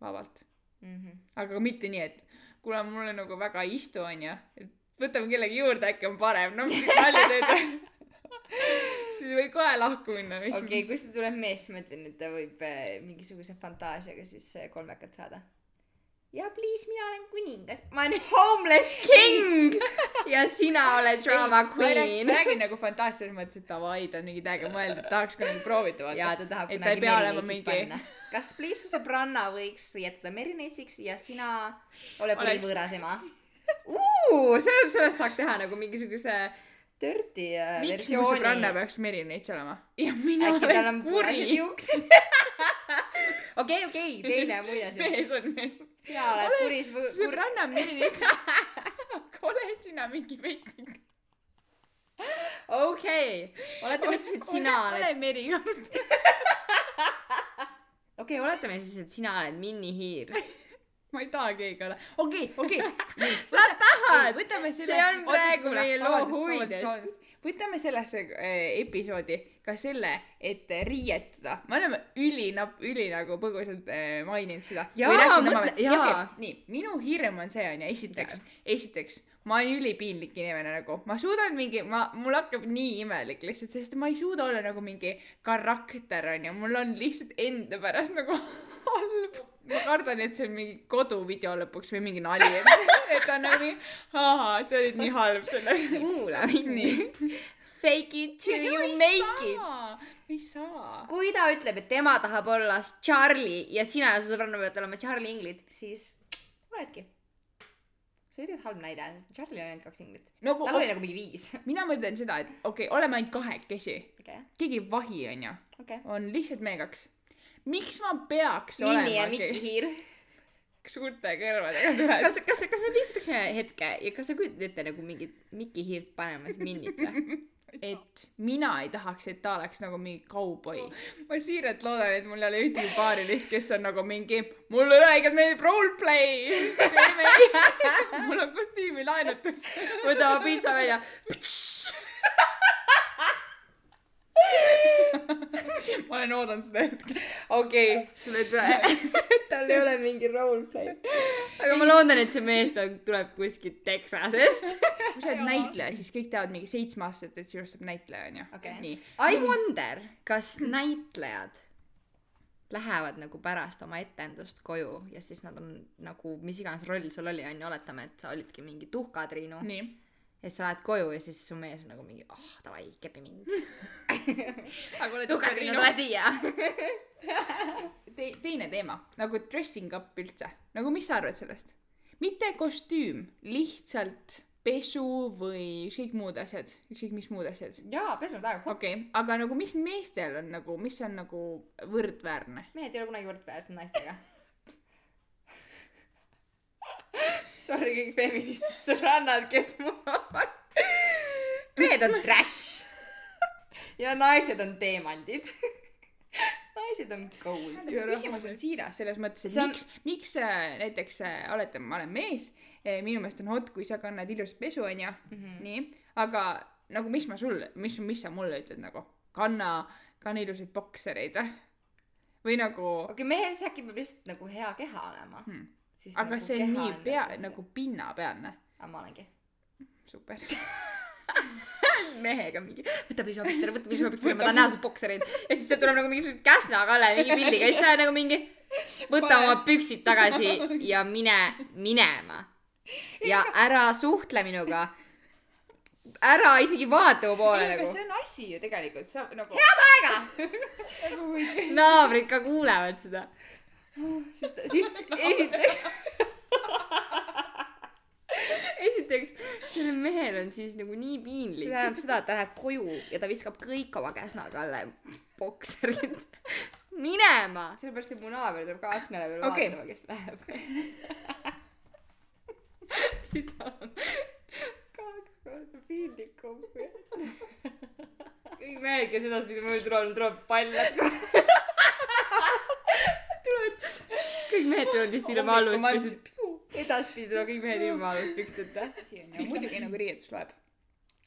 [SPEAKER 1] vabalt .
[SPEAKER 2] mhm.
[SPEAKER 1] aga mitte nii , et kuule , mulle nagu väga ei istu , onju , et võtame kellegi juurde , äkki on parem , no mis sa nalja teed . siis võib kohe lahku minna , mis
[SPEAKER 2] okei , kui sul tuleb mees , siis ma ütlen , et ta võib eh, mingisuguse fantaasiaga siis eh, kolmekat saada . ja please , mina olen kuningas , ma olen homeless king ja sina oled drama
[SPEAKER 1] ma räägin,
[SPEAKER 2] queen .
[SPEAKER 1] räägin nagu fantaasias mõttes , et davai , ta on mingi täiega mõeldud , tahaks kunagi proovida
[SPEAKER 2] ja
[SPEAKER 1] vaata .
[SPEAKER 2] ta tahab
[SPEAKER 1] et ta ei pea olema
[SPEAKER 2] merineitsid
[SPEAKER 1] mingi-
[SPEAKER 2] panna. kas please su sõbranna võiks riietuda merineitsiks ja sina ole
[SPEAKER 1] Oleks-
[SPEAKER 2] kuri võõras ema uh, ? sellest , sellest saaks teha nagu mingisuguse dirty äh,
[SPEAKER 1] miks mu sõbranna
[SPEAKER 2] versiooni .
[SPEAKER 1] peaks merineits olema ? ja mina
[SPEAKER 2] äkki tal
[SPEAKER 1] olen
[SPEAKER 2] on punased
[SPEAKER 1] kuri .
[SPEAKER 2] juuksed ? okei , okei , teine muinasjutt .
[SPEAKER 1] mees on mees .
[SPEAKER 2] sina oled
[SPEAKER 1] Ole-
[SPEAKER 2] kuris võ- , kur- ,
[SPEAKER 1] sõbranna on merineits . ole sina mingi veidi .
[SPEAKER 2] okei . oletame siis , et sina oled ,
[SPEAKER 1] ole merikarp .
[SPEAKER 2] okei , oletame siis , et sina oled minihiir .
[SPEAKER 1] ma ei taha keegi olla . okei , okei .
[SPEAKER 2] sa tahad ,
[SPEAKER 1] võtame selle .
[SPEAKER 2] see on praegu meie loo huvides. .
[SPEAKER 1] võtame sellesse eh, episoodi ka selle , et riietuda . me oleme ülinapp , üli nagu põgusalt eh, maininud seda .
[SPEAKER 2] Jaa, mõtle- jaa.
[SPEAKER 1] nii , minu hirm on see onju , esiteks , esiteks , ma olen ülipiinlik inimene nagu , ma suudan mingi , ma , mul hakkab nii imelik lihtsalt , sest ma ei suuda olla nagu mingi karakter onju , mul on lihtsalt enda pärast nagu halb . ma kardan , et see on mingi koduvideo lõpuks või mingi nali , et ta on nagu nii , ahaa , sa olid nii halb selle .
[SPEAKER 2] kuula
[SPEAKER 1] Nii. .
[SPEAKER 2] Fake it till you make it .
[SPEAKER 1] ei saa .
[SPEAKER 2] kui ta ütleb , et tema tahab olla s- Charlie ja sina ja su sõbranna peavad olema Charlie inglid , siis oledki . see oli tegelikult halb näide , sest Charlie oli ainult kaks inglit .
[SPEAKER 1] no
[SPEAKER 2] tal oli
[SPEAKER 1] kui ,
[SPEAKER 2] nagu mingi viis .
[SPEAKER 1] mina mõtlen seda , et okei okay, , oleme ainult kahekesi ,
[SPEAKER 2] okei ,
[SPEAKER 1] keegi ei vahi onju ,
[SPEAKER 2] okei .
[SPEAKER 1] on lihtsalt meie kaks . miks ma peaks
[SPEAKER 2] Minni ja
[SPEAKER 1] olema
[SPEAKER 2] Mikki
[SPEAKER 1] keegi-
[SPEAKER 2] Hiir .
[SPEAKER 1] suurte kõrvadega tüves ?
[SPEAKER 2] kas , kas , kas me piisatakse hetke ja kas sa kujutad ette nagu mingit Mikki Hiirt panemas Minnit või ?
[SPEAKER 1] et mina ei tahaks , et ta oleks nagu mingi kauboi .
[SPEAKER 2] Oh.
[SPEAKER 1] ma siiralt loodan , et mul ei ole ühtegi paarilist , kes on nagu mingi , mulle õigelt meeldib roleplay . mul on kostüümi laenutus .
[SPEAKER 2] võta oma piitsa välja .
[SPEAKER 1] ma olen oodanud seda hetke .
[SPEAKER 2] okei okay. , sul ei tule . tal ei ole mingi roleplay . aga ma loodan , et see mees ta tuleb kuskilt Texasest .
[SPEAKER 1] kui sa oled näitleja , siis kõik teavad mingi seitsme aastaselt , et sinust saab näitleja onju
[SPEAKER 2] Okei.
[SPEAKER 1] nii .
[SPEAKER 2] I wonder , kas näitlejad lähevad nagu pärast oma etendust koju ja siis nad on nagu , mis iganes roll sul oli , on ju , oletame , et sa olidki mingi tuhkatriinu
[SPEAKER 1] nii .
[SPEAKER 2] ja siis sa lähed koju ja siis su mees on nagu mingi , ah oh, davai , kepi mind .
[SPEAKER 1] aga kuule , Tukatriinu ,
[SPEAKER 2] Tukatriinu tule siia .
[SPEAKER 1] te- , teine teema , nagu dressing up üldse , nagu mis sa arvad sellest ? mitte kostüüm , lihtsalt pesu või ükskõik muud asjad , ükskõik mis muud asjad .
[SPEAKER 2] jaa , pesnud aeg .
[SPEAKER 1] okei okay. , aga nagu mis meestel on nagu , mis on nagu võrdväärne ?
[SPEAKER 2] mehed ei ole kunagi võrdväärsed naistega sorry kõik feministid sõbrannad kes mul on mehed on trash ja naised on teemandid naised on gold
[SPEAKER 1] küsimus on siiras selles mõttes , et
[SPEAKER 2] See on-
[SPEAKER 1] on... miks , miks äh, näiteks äh, olete , ma olen mees , minu meelest on hot , kui sa kannad ilusat pesu , onju , nii , aga nagu mis ma sulle , mis , mis sa mulle ütled nagu , kanna , kanna ilusaid boksereid või ? või nagu ,
[SPEAKER 2] okei mehes äkki peab lihtsalt nagu hea keha olema
[SPEAKER 1] Hmm.
[SPEAKER 2] siis nagu
[SPEAKER 1] aga see on
[SPEAKER 2] keha
[SPEAKER 1] nii pea ,
[SPEAKER 2] see-
[SPEAKER 1] nagu pinnapealne ,
[SPEAKER 2] aga ma olengi
[SPEAKER 1] super .
[SPEAKER 2] mehega mingi , võta pliisopikster , võta pliisopikster , ma tahan näha su boksereid . ja siis sealt tuleb nagu mingisugune Käsna Kalle mingi pilliga ja siis sa oled nagu mingi , võta
[SPEAKER 1] Pane.
[SPEAKER 2] oma püksid tagasi ja mine minema . ja ära suhtle minuga . ära isegi vaata mu poole
[SPEAKER 1] aga
[SPEAKER 2] nagu .
[SPEAKER 1] see on asi ju tegelikult , sa nagu . Nagu
[SPEAKER 2] aega , naabrid ka kuulevad seda . siis , siis esiteks . esiteks , sellel mehel on siis nagu nii piinlik . see tähendab seda , et ta läheb koju ja ta viskab kõik oma käsnaga alla bokserid minema . sellepärast , et mu naaber tuleb ka aknale peale
[SPEAKER 1] Okei.
[SPEAKER 2] okay. vaatama , kes läheb . seda on kaks korda piinlikum . kõik mehed , kes edaspidi mul tulevad , tulevad paljad . tulevad , kõik mehed tulevad
[SPEAKER 1] Oh
[SPEAKER 2] vist ilma aluspüksteta . edaspidi tulevad kõik mehed ilma aluspüksteta .
[SPEAKER 1] muidugi nagu riietus loeb . ja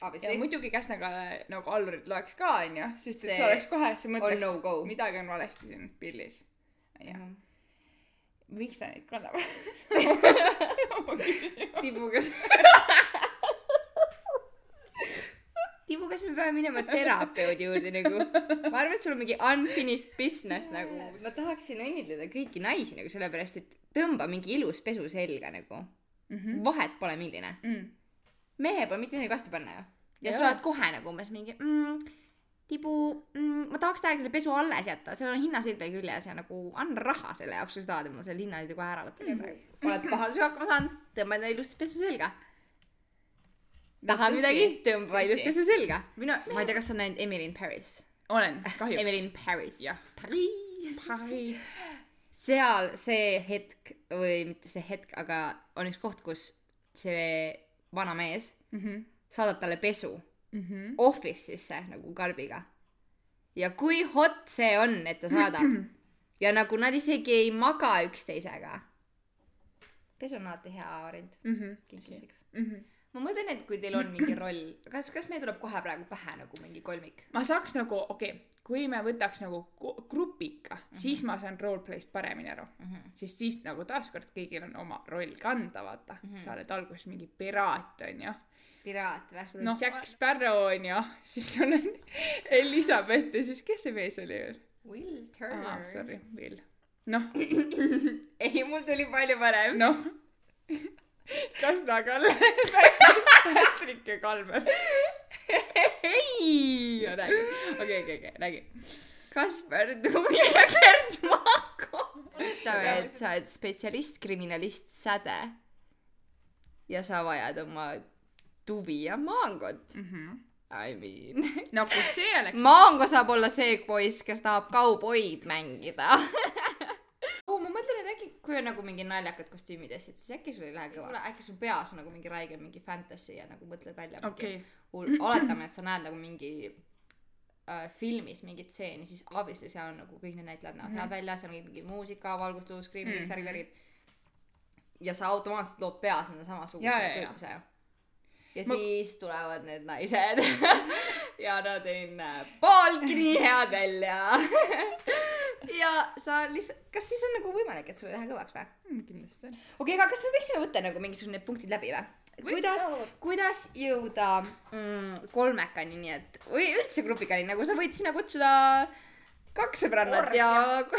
[SPEAKER 2] abisse .
[SPEAKER 1] muidugi Käsna-Kalle nagu allurid loeks ka onju , sest et see,
[SPEAKER 2] See
[SPEAKER 1] see oleks kohe , sa
[SPEAKER 2] on
[SPEAKER 1] mõtleks
[SPEAKER 2] no go.
[SPEAKER 1] midagi on valesti siin pildis . miks ta neid kannab ?
[SPEAKER 2] tibu , kas . tibu , kas me peame minema terapeudi juurde nagu ? ma arvan , et sul on mingi unfinished business nagu . ma tahaksin õnnitleda kõiki naisi nagu sellepärast , et tõmba mingi ilus pesu selga nagu .
[SPEAKER 1] Mhm.
[SPEAKER 2] vahet pole , milline .
[SPEAKER 1] Mm.
[SPEAKER 2] mehe pole mitte midagi vastu panna ju . ja sa
[SPEAKER 1] Jaa.
[SPEAKER 2] oled kohe nagu umbes mingi mm, tibu mm, , ma tahaks täiega selle pesu alles jätta , seal on hinnasilde küljes ja nagu anna raha selle jaoks , kui sa tahad , et ma selle hinnasilde kohe ära võtaks mm. . oled pahandusega hakkama saanud , tõmba endale ilust pesu selga . tahad
[SPEAKER 1] tõsi.
[SPEAKER 2] midagi , tõmba ilust
[SPEAKER 1] Tõsi.
[SPEAKER 2] pesu selga . mina , ma ei tea , kas sa oled näinud Emily in Paris .
[SPEAKER 1] olen ,
[SPEAKER 2] Emily
[SPEAKER 1] kahjuks .
[SPEAKER 2] in Paris
[SPEAKER 1] Jah. .
[SPEAKER 2] Paris .
[SPEAKER 1] Pari .
[SPEAKER 2] seal see hetk või mitte see hetk , aga on üks koht , kus see vana mees
[SPEAKER 1] Mhm.
[SPEAKER 2] saadab talle pesu office'isse nagu karbiga . ja kui hot see on , et ta saadab ja nagu nad isegi ei maga üksteisega . pesu on alati hea variant
[SPEAKER 1] Mhm.
[SPEAKER 2] kinkimiseks . ma mõtlen , et kui teil on mingi roll , kas , kas meil tuleb kohe praegu pähe nagu mingi kolmik ?
[SPEAKER 1] ma saaks nagu , okei okay, , kui me võtaks nagu ku- grupika , siis ma saan roleplay'st paremini aru .
[SPEAKER 2] Mhm.
[SPEAKER 1] sest siis nagu taaskord kõigil on oma roll kanda , vaata mm . -hmm. sa oled alguses mingi piraat , onju
[SPEAKER 2] piraat või ?
[SPEAKER 1] noh , Jack Sparrow on ju , siis sul on Elizabeth ja siis kes see mees oli veel ?
[SPEAKER 2] Will
[SPEAKER 1] aa ,
[SPEAKER 2] Turner .
[SPEAKER 1] sorry , Will . noh ,
[SPEAKER 2] ei , mul tuli palju parem no. .
[SPEAKER 1] noh . Kasna Kalle , Patrick ja Kalmer . ei , räägi , okei , okei , okei , räägi .
[SPEAKER 2] Kaspar Tuuli ja Gerd Maako . ütleme , et sa oled spetsialist , kriminalist , säde . ja sa vajad oma tuvi ja mangot . I mean .
[SPEAKER 1] Mhm. no kui see oleks Ma... ,
[SPEAKER 2] mango saab olla see poiss , kes tahab kauboid mängida . oo , Oh, ma mõtlen , et äkki , kui on nagu mingi naljakad kostüümid ja asjad , siis äkki sul ei lähe kõvaks . äkki sul peas on nagu mingi räige mingi fantasy ja nagu mõtled välja mingi
[SPEAKER 1] okei okay. ,
[SPEAKER 2] hull , oletame , et sa näed nagu mingi äh, filmis mingit stseeni , siis obviously seal on nagu kõik need näitlejad näevad mm -hmm. head välja , seal on mingi muusika , valgustus , kriimid mm
[SPEAKER 1] Mhm.
[SPEAKER 2] -hmm. , särgid , värgid . ja sa automaatselt lood peas enda samasuguse
[SPEAKER 1] Jaa, jaa, jaa.
[SPEAKER 2] kujutuse ju . ja
[SPEAKER 1] Ma-
[SPEAKER 2] Ma... siis tulevad need naised ja nad ei näe pooltki nii head välja . ja sa lihtsalt , kas siis on nagu võimalik , et sul ei lähe kõvaks või ?
[SPEAKER 1] Mm, kindlasti .
[SPEAKER 2] okei okay, , aga kas me võiksime võtta nagu mingisugused need punktid läbi või ? kuidas , kuidas jõuda mm, kolmekani , nii et või üldse grupikani , nagu sa võid sinna kutsuda kaks sõbrannat ja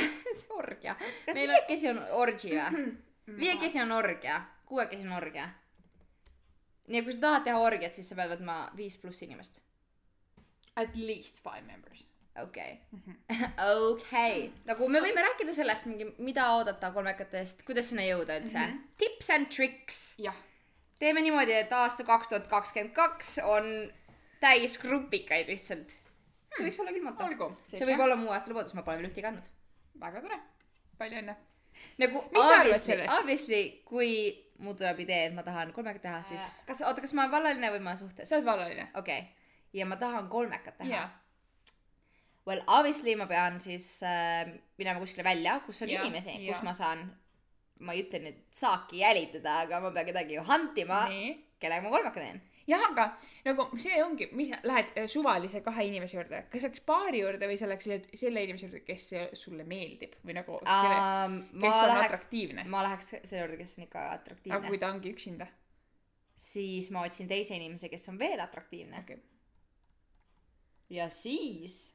[SPEAKER 2] orgia . kas
[SPEAKER 1] Meil on-
[SPEAKER 2] viiekesi on orgi või ? Mm, viiekesi on orgia , kuuekesi on orgia . nii , kui sa tahad teha orgiat , siis sa pead võtma viis pluss inimest .
[SPEAKER 1] At least five members .
[SPEAKER 2] okei , Mhm. okei , nagu me võime rääkida sellest mingi , mida oodata kolmekatest , kuidas sinna jõuda üldse mm . -hmm. Tips and tricks ,
[SPEAKER 1] jah ,
[SPEAKER 2] teeme niimoodi , et aasta kaks tuhat kakskümmend kaks on täis grupikaid lihtsalt . see võiks olla külmutav .
[SPEAKER 1] olgu .
[SPEAKER 2] see võib . olla mu aasta lubadus , ma pole veel ühtegi andnud .
[SPEAKER 1] väga tore . palju õnne .
[SPEAKER 2] nagu
[SPEAKER 1] Mis sa arvad
[SPEAKER 2] obviously ,
[SPEAKER 1] sellest?
[SPEAKER 2] obviously , kui mul tuleb idee , et ma tahan kolmekat teha , siis kas , oota , kas ma olen vallaline või ma olen suhtes ?
[SPEAKER 1] sa oled vallaline .
[SPEAKER 2] okei okay. , ja ma tahan kolmekat teha
[SPEAKER 1] jaa .
[SPEAKER 2] well obviously ma pean siis äh, minema kuskile välja , kus on
[SPEAKER 1] Jah,
[SPEAKER 2] ja, inimesi ,
[SPEAKER 1] jah.
[SPEAKER 2] kus ma saan , ma ei ütle nüüd saaki jälitada , aga ma pean kedagi ju hantima ,
[SPEAKER 1] nii .
[SPEAKER 2] kellega ma kolmeka teen .
[SPEAKER 1] jah , aga nagu see ongi , mis lähed äh, suvalise kahe inimese juurde , kas läks paari juurde või sa läksid selle inimese juurde , kes sulle meeldib või nagu kelle ,
[SPEAKER 2] Um, ma
[SPEAKER 1] kes on läheks...
[SPEAKER 2] läheks ,
[SPEAKER 1] atraktiivne .
[SPEAKER 2] ma läheks selle juurde , kes on ikka
[SPEAKER 1] aga
[SPEAKER 2] atraktiivne
[SPEAKER 1] kui , ta ongi üksinda ,
[SPEAKER 2] siis ma otsin teise inimese , kes on veel atraktiivne
[SPEAKER 1] okei okay. ,
[SPEAKER 2] ja siis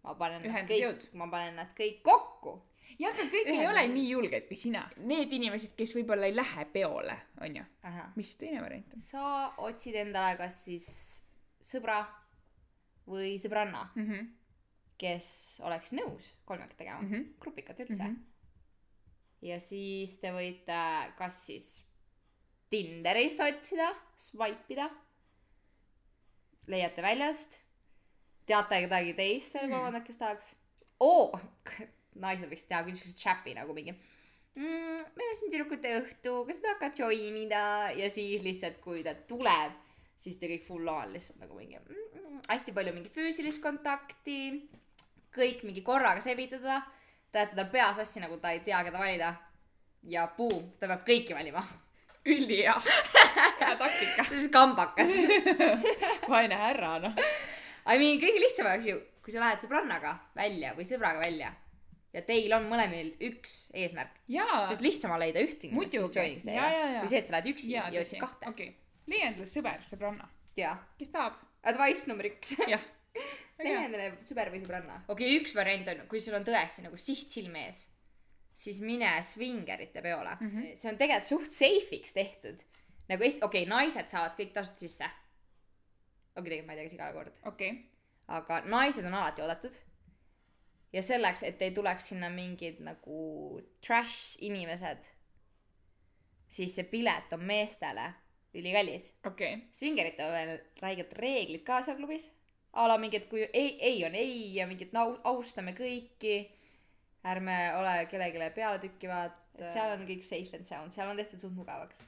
[SPEAKER 2] ma panen nad
[SPEAKER 1] Ühendad
[SPEAKER 2] kõik
[SPEAKER 1] jõud. ,
[SPEAKER 2] ma panen nad kõik kokku .
[SPEAKER 1] jah , aga kõik ei
[SPEAKER 2] Ühel-
[SPEAKER 1] ole nii julged kui sina . Need inimesed , kes võib-olla ei lähe peole , onju . mis teine variant on
[SPEAKER 2] sa otsid endale kas siis sõbra või sõbranna
[SPEAKER 1] mm ? -hmm.
[SPEAKER 2] kes oleks nõus kolmega tegema mm
[SPEAKER 1] Mhm.
[SPEAKER 2] -hmm. grupikat üldse mm .
[SPEAKER 1] Mhm.
[SPEAKER 2] -hmm. ja siis te võite kas siis Tinderist otsida , swipe ida , leiate väljast , teate kedagi teist veel
[SPEAKER 1] Mm.
[SPEAKER 2] kolmandat , kes tahaks oo , naised võiks teha küll siukse chap'i nagu mingi mm, . meil on siin tüdrukute õhtu , kas sa tahad ka join ida ja siis lihtsalt , kui ta tuleb , siis te kõik full on lihtsalt nagu mingi mm, mm, hästi palju mingi füüsilist kontakti , kõik mingi korraga sebitada , te ajate tal pea sassi , nagu ta ei tea , keda valida ja boom , ta peab kõiki valima .
[SPEAKER 1] ülihea , hea taktika .
[SPEAKER 2] see on siis kambakas .
[SPEAKER 1] vaene härra , noh .
[SPEAKER 2] I mean , kõige lihtsam oleks ju , kui sa lähed sõbrannaga välja või sõbraga välja ja teil on mõlemil üks eesmärk ,
[SPEAKER 1] jaa ,
[SPEAKER 2] sest lihtsam on leida üht inimest , kes
[SPEAKER 1] Muidugi.
[SPEAKER 2] joiniks
[SPEAKER 1] Ja, ja, ja.
[SPEAKER 2] teile , kui see , et sa lähed üksi ja
[SPEAKER 1] jaa ,
[SPEAKER 2] otsid
[SPEAKER 1] tõsi ,
[SPEAKER 2] kahte .
[SPEAKER 1] okei . leia endale sõber , sõbranna ,
[SPEAKER 2] jaa ,
[SPEAKER 1] kes tahab .
[SPEAKER 2] advice number üks .
[SPEAKER 1] jah .
[SPEAKER 2] leia endale sõber või sõbranna . okei okay, , üks variant on , kui sul on tõesti nagu siht silme ees , siis mine svingerite peole mm . -hmm. see on tegelikult suht safe'iks tehtud . nagu Eesti , okei okay, , naised saavad kõik tasuta sisse . okei okay, , tegelikult ma ei tea , kas iga kord .
[SPEAKER 1] okei ,
[SPEAKER 2] aga naised on alati oodatud . ja selleks , et ei tuleks sinna mingid nagu trash inimesed , siis see pilet on meestele ülikallis .
[SPEAKER 1] okei ,
[SPEAKER 2] Svingerite on veel räiged reeglid ka seal klubis . a la mingi , et kui ei , ei on ei ja mingid nau- , austame kõiki , ärme ole kellelegi pealetükkivad . et seal on kõik safe and sound , seal on tehtud suht mugavaks .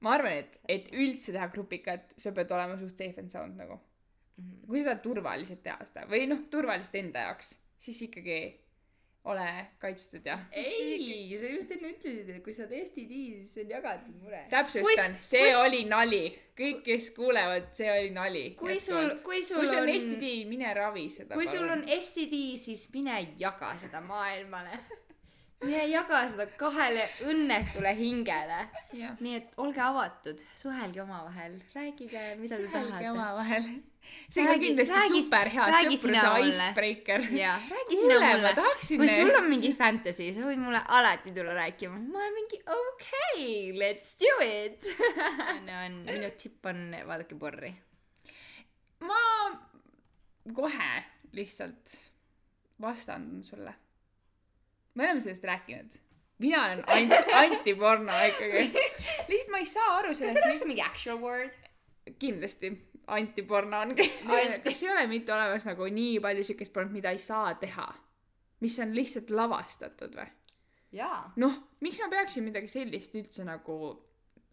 [SPEAKER 1] ma arvan , et , et üldse teha grupikat , sa pead olema suht safe and sound nagu mm . -hmm. kui sa tahad turvaliselt teha seda või noh , turvaliselt enda jaoks , siis ikkagi ole kaitstud ja .
[SPEAKER 2] ei , sa just enne ütlesid , et kui sa oled Eesti tiim , siis see on jagatud mure
[SPEAKER 1] täpsustan ,
[SPEAKER 2] Kus-
[SPEAKER 1] see
[SPEAKER 2] kus-
[SPEAKER 1] kus... oli nali , kõik , kes kuulevad , see oli nali .
[SPEAKER 2] kui sul , kui sul
[SPEAKER 1] kui see on
[SPEAKER 2] on
[SPEAKER 1] Eesti tiim , mine ravi seda .
[SPEAKER 2] kui sul on STD , siis mine jaga seda maailmale . mine jaga seda kahele õnnetule hingele .
[SPEAKER 1] jah ,
[SPEAKER 2] nii et olge avatud , suhelge omavahel , rääkige , mida te
[SPEAKER 1] suhelge
[SPEAKER 2] tahate .
[SPEAKER 1] omavahel . see on ka
[SPEAKER 2] Räägi-
[SPEAKER 1] kindlasti
[SPEAKER 2] räägi-
[SPEAKER 1] super hea
[SPEAKER 2] räägi
[SPEAKER 1] sõpruse
[SPEAKER 2] sina mulle.
[SPEAKER 1] icebreaker .
[SPEAKER 2] jaa , räägi sina
[SPEAKER 1] kuule , ma
[SPEAKER 2] mulle .
[SPEAKER 1] tahaksin .
[SPEAKER 2] kui sul on mingi fantasy , sa võid mulle alati tulla rääkima . ma olen mingi okei okay, , let's do it . on , minu tipp on vaadake Borri .
[SPEAKER 1] ma kohe lihtsalt vastandun sulle . me oleme sellest rääkinud . mina olen anti , antiporno ikkagi . lihtsalt ma ei saa aru
[SPEAKER 2] kas sellel
[SPEAKER 1] sellest .
[SPEAKER 2] oleks mingi actual word ?
[SPEAKER 1] kindlasti antiporno ongi
[SPEAKER 2] Anti- .
[SPEAKER 1] kas ei ole mitte olemas nagu nii palju siukest pornot , mida ei saa teha ? mis on lihtsalt lavastatud või ?
[SPEAKER 2] jaa .
[SPEAKER 1] noh , miks ma peaksin midagi sellist üldse nagu